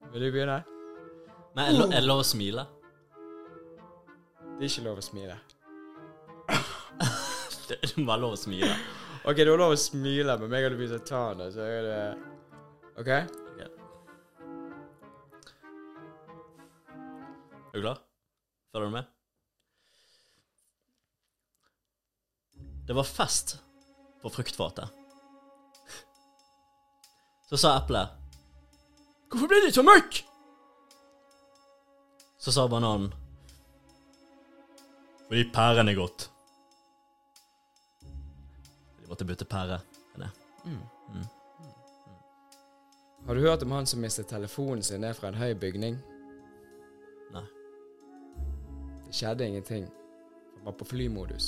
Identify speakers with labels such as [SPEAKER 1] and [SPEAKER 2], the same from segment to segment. [SPEAKER 1] Vil du begynne?
[SPEAKER 2] Nei, eller, eller å smile.
[SPEAKER 1] Det er ikke lov å smile.
[SPEAKER 2] Det det må være lov å smile.
[SPEAKER 1] Ok, det var lov å smile, men meg og du begynte å ta det, så er det OK?
[SPEAKER 2] Ok. Er du klar? Følger du med? Det var fest på fruktfatet. Så sa eplet Hvorfor ble det så mørkt? Så sa bananen Fordi pæren er godt. De måtte bytte pære. Nei.
[SPEAKER 1] Har du hørt om han som mistet telefonen sin ned fra en høy bygning?
[SPEAKER 2] Nei.
[SPEAKER 1] Det skjedde ingenting. Han var på flymodus.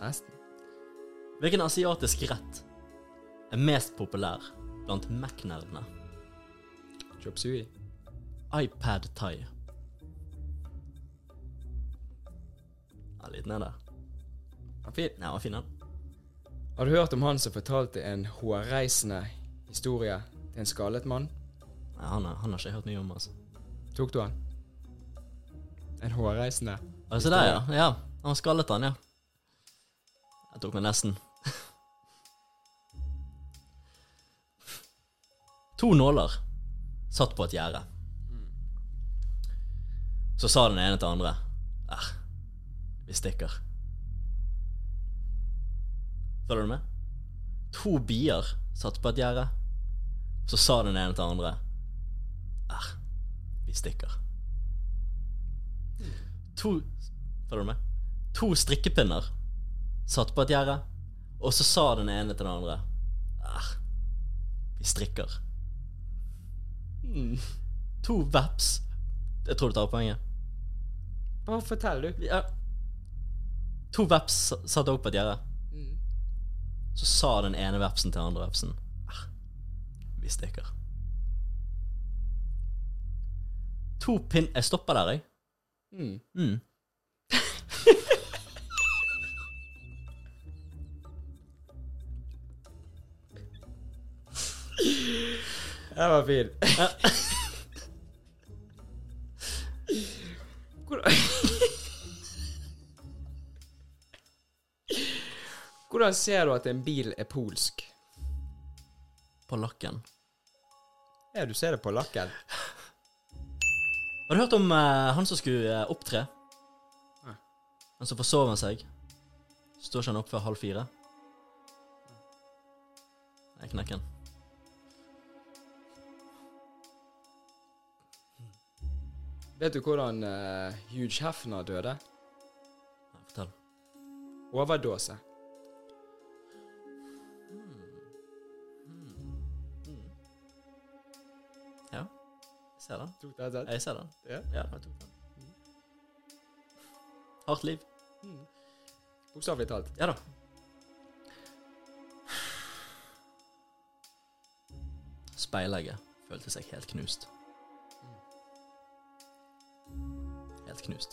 [SPEAKER 1] Nesten.
[SPEAKER 2] Hvilken asiatisk rett er mest populær blant Mac-nerdene?
[SPEAKER 1] Chop sui.
[SPEAKER 2] iPad Thai. Ja, litt ned der.
[SPEAKER 1] Han er fin.
[SPEAKER 2] Nei, den var fin den.
[SPEAKER 1] Har du hørt om han som fortalte en hårreisende historie til en skallet mann?
[SPEAKER 2] Nei, han, har- han har ikke jeg hørt mye om, altså.
[SPEAKER 1] Tok du han? En hårreisende?
[SPEAKER 2] Altså, der, ja. ja. Han skallet han, ja. Jeg tok meg nesten. to nåler satt på et gjerde. Så sa den ene til den andre Eh, vi stikker. Følger du med? To bier satt på et gjerde. Så sa den ene til den andre Eh, vi stikker. To Følger du med? To strikkepinner satt på et gjerde, og så sa den ene til den andre Eh, vi strikker. To veps Jeg tror du tar poenget.
[SPEAKER 1] Bare fortell, du.
[SPEAKER 2] Ja. To veps s- satt også på et gjerde. Så sa den ene vepsen til den andre vepsen «Ah, Vi stikker. To pin... Jeg stopper der, jeg.
[SPEAKER 1] Mm.
[SPEAKER 2] Mm.
[SPEAKER 1] Den var fin. Hvordan Hvordan ser du at en bil er polsk?
[SPEAKER 2] På lakken.
[SPEAKER 1] Ja, du ser det på lakken.
[SPEAKER 2] Har du hørt om eh, han som skulle eh, opptre?
[SPEAKER 1] Nei.
[SPEAKER 2] Han som forsov han seg. Står ikke han opp før halv fire? Jeg knekker han.
[SPEAKER 1] Vet du hvordan eh, Hugh Hefner døde?
[SPEAKER 2] Nei, Fortell.
[SPEAKER 1] Overdose.
[SPEAKER 2] Ja, jeg ser den.
[SPEAKER 1] Tok det
[SPEAKER 2] Jeg ser den.
[SPEAKER 1] Ja.
[SPEAKER 2] Ja, jeg tok den. Hardt liv.
[SPEAKER 1] Bokstavelig talt.
[SPEAKER 2] Ja da. Speilegget følte seg helt knust. Helt knust.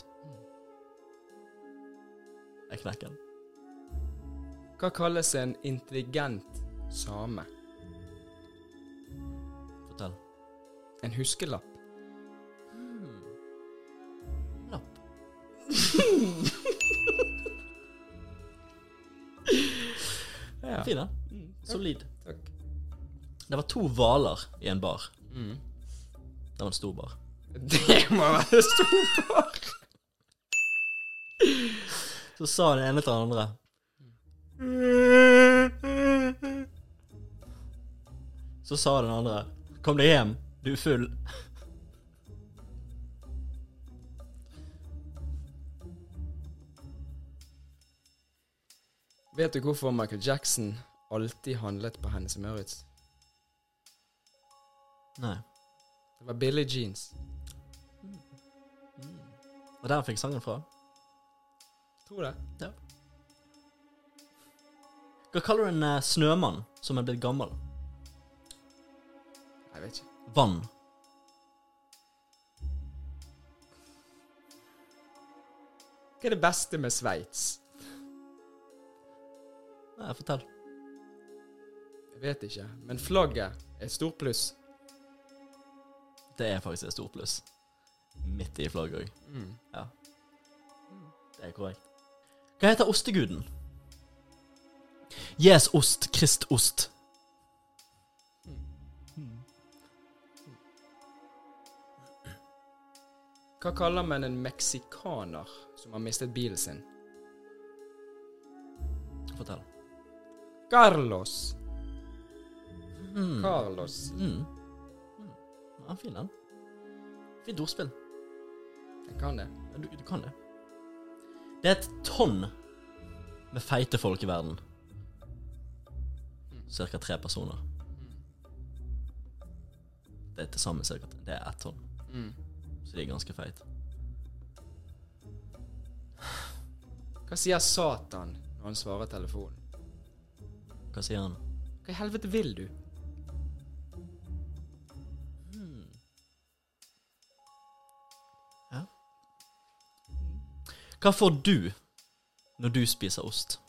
[SPEAKER 2] Jeg knekker den.
[SPEAKER 1] Hva kalles en intelligent same?
[SPEAKER 2] Fortell.
[SPEAKER 1] En huskelapp?
[SPEAKER 2] Lapp.
[SPEAKER 1] Ja.
[SPEAKER 2] Fin, den. Solid.
[SPEAKER 1] Mm, Takk.
[SPEAKER 2] Det var to hvaler i en bar.
[SPEAKER 1] Mm.
[SPEAKER 2] Det var en stor bar.
[SPEAKER 1] Det må være stort par.
[SPEAKER 2] Så sa den ene til den andre Så sa den andre Kom deg hjem, du er full.
[SPEAKER 1] Vet du hvorfor Michael Jackson alltid handlet på Hennes Mauritz?
[SPEAKER 2] Nei.
[SPEAKER 1] Det var Billie Jeans.
[SPEAKER 2] Og der fikk sangen fra.
[SPEAKER 1] Tror det.
[SPEAKER 2] Ja. Hva kaller du en eh, snømann som er blitt gammel?
[SPEAKER 1] Jeg vet ikke.
[SPEAKER 2] Vann.
[SPEAKER 1] Hva er det beste med Sveits?
[SPEAKER 2] Nei, fortell.
[SPEAKER 1] Jeg vet ikke. Men flagget er et stort pluss.
[SPEAKER 2] Det er faktisk et stort pluss. Midt i flagget òg.
[SPEAKER 1] Mm.
[SPEAKER 2] Det er korrekt. Hva heter osteguden? Yes, ost, krist, ost.
[SPEAKER 1] Hva kaller man en meksikaner som har mistet bilen sin?
[SPEAKER 2] Fortell.
[SPEAKER 1] Carlos. Hmm.
[SPEAKER 2] Mm.
[SPEAKER 1] Carlos.
[SPEAKER 2] Mm. Mm. Ja, fin den. Fint ordspill.
[SPEAKER 1] Jeg kan det.
[SPEAKER 2] Ja, Du, du kan det. Det er et tonn med feite folk i verden. Cirka tre personer. Det er til sammen cirka Det er ett tonn,
[SPEAKER 1] Mm.
[SPEAKER 2] så de er ganske feite.
[SPEAKER 1] Hva sier Satan når han svarer telefonen?
[SPEAKER 2] Hva sier han?
[SPEAKER 1] Hva i helvete vil du?
[SPEAKER 2] Hva får du når du spiser ost?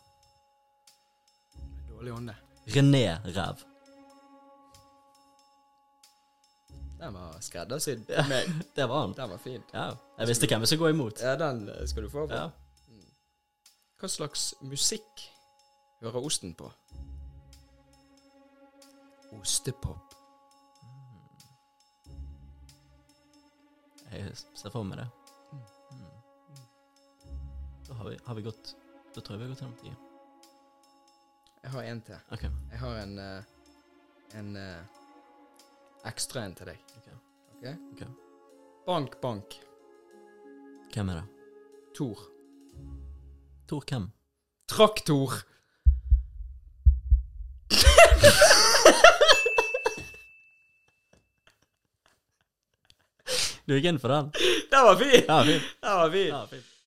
[SPEAKER 1] Dårlig ånde.
[SPEAKER 2] René Ræv.
[SPEAKER 1] Den var skreddersydd.
[SPEAKER 2] Det var han.
[SPEAKER 1] Den var fin.
[SPEAKER 2] Ja, jeg visste hvem jeg skulle gå imot.
[SPEAKER 1] Ja, den eh, skal du få. på.
[SPEAKER 2] Ja.
[SPEAKER 1] Hva slags musikk hører osten på? Ostepop.
[SPEAKER 2] Jeg ser for meg det. Mm. Da har vi, har vi gått Da tror jeg vi har gått gjennom tida.
[SPEAKER 1] Jeg har en til.
[SPEAKER 2] Ok,
[SPEAKER 1] Jeg har en eh, en eh, ekstra en til deg.
[SPEAKER 2] ok.
[SPEAKER 1] ok?
[SPEAKER 2] Ok.
[SPEAKER 1] Bank, bank.
[SPEAKER 2] Hvem er det?
[SPEAKER 1] Tor.
[SPEAKER 2] Tor hvem?
[SPEAKER 1] Traktor.
[SPEAKER 2] Du gikk inn for den?
[SPEAKER 1] Den var fin!
[SPEAKER 2] Ja, fint.
[SPEAKER 1] Den var fin.
[SPEAKER 2] Ja, fint.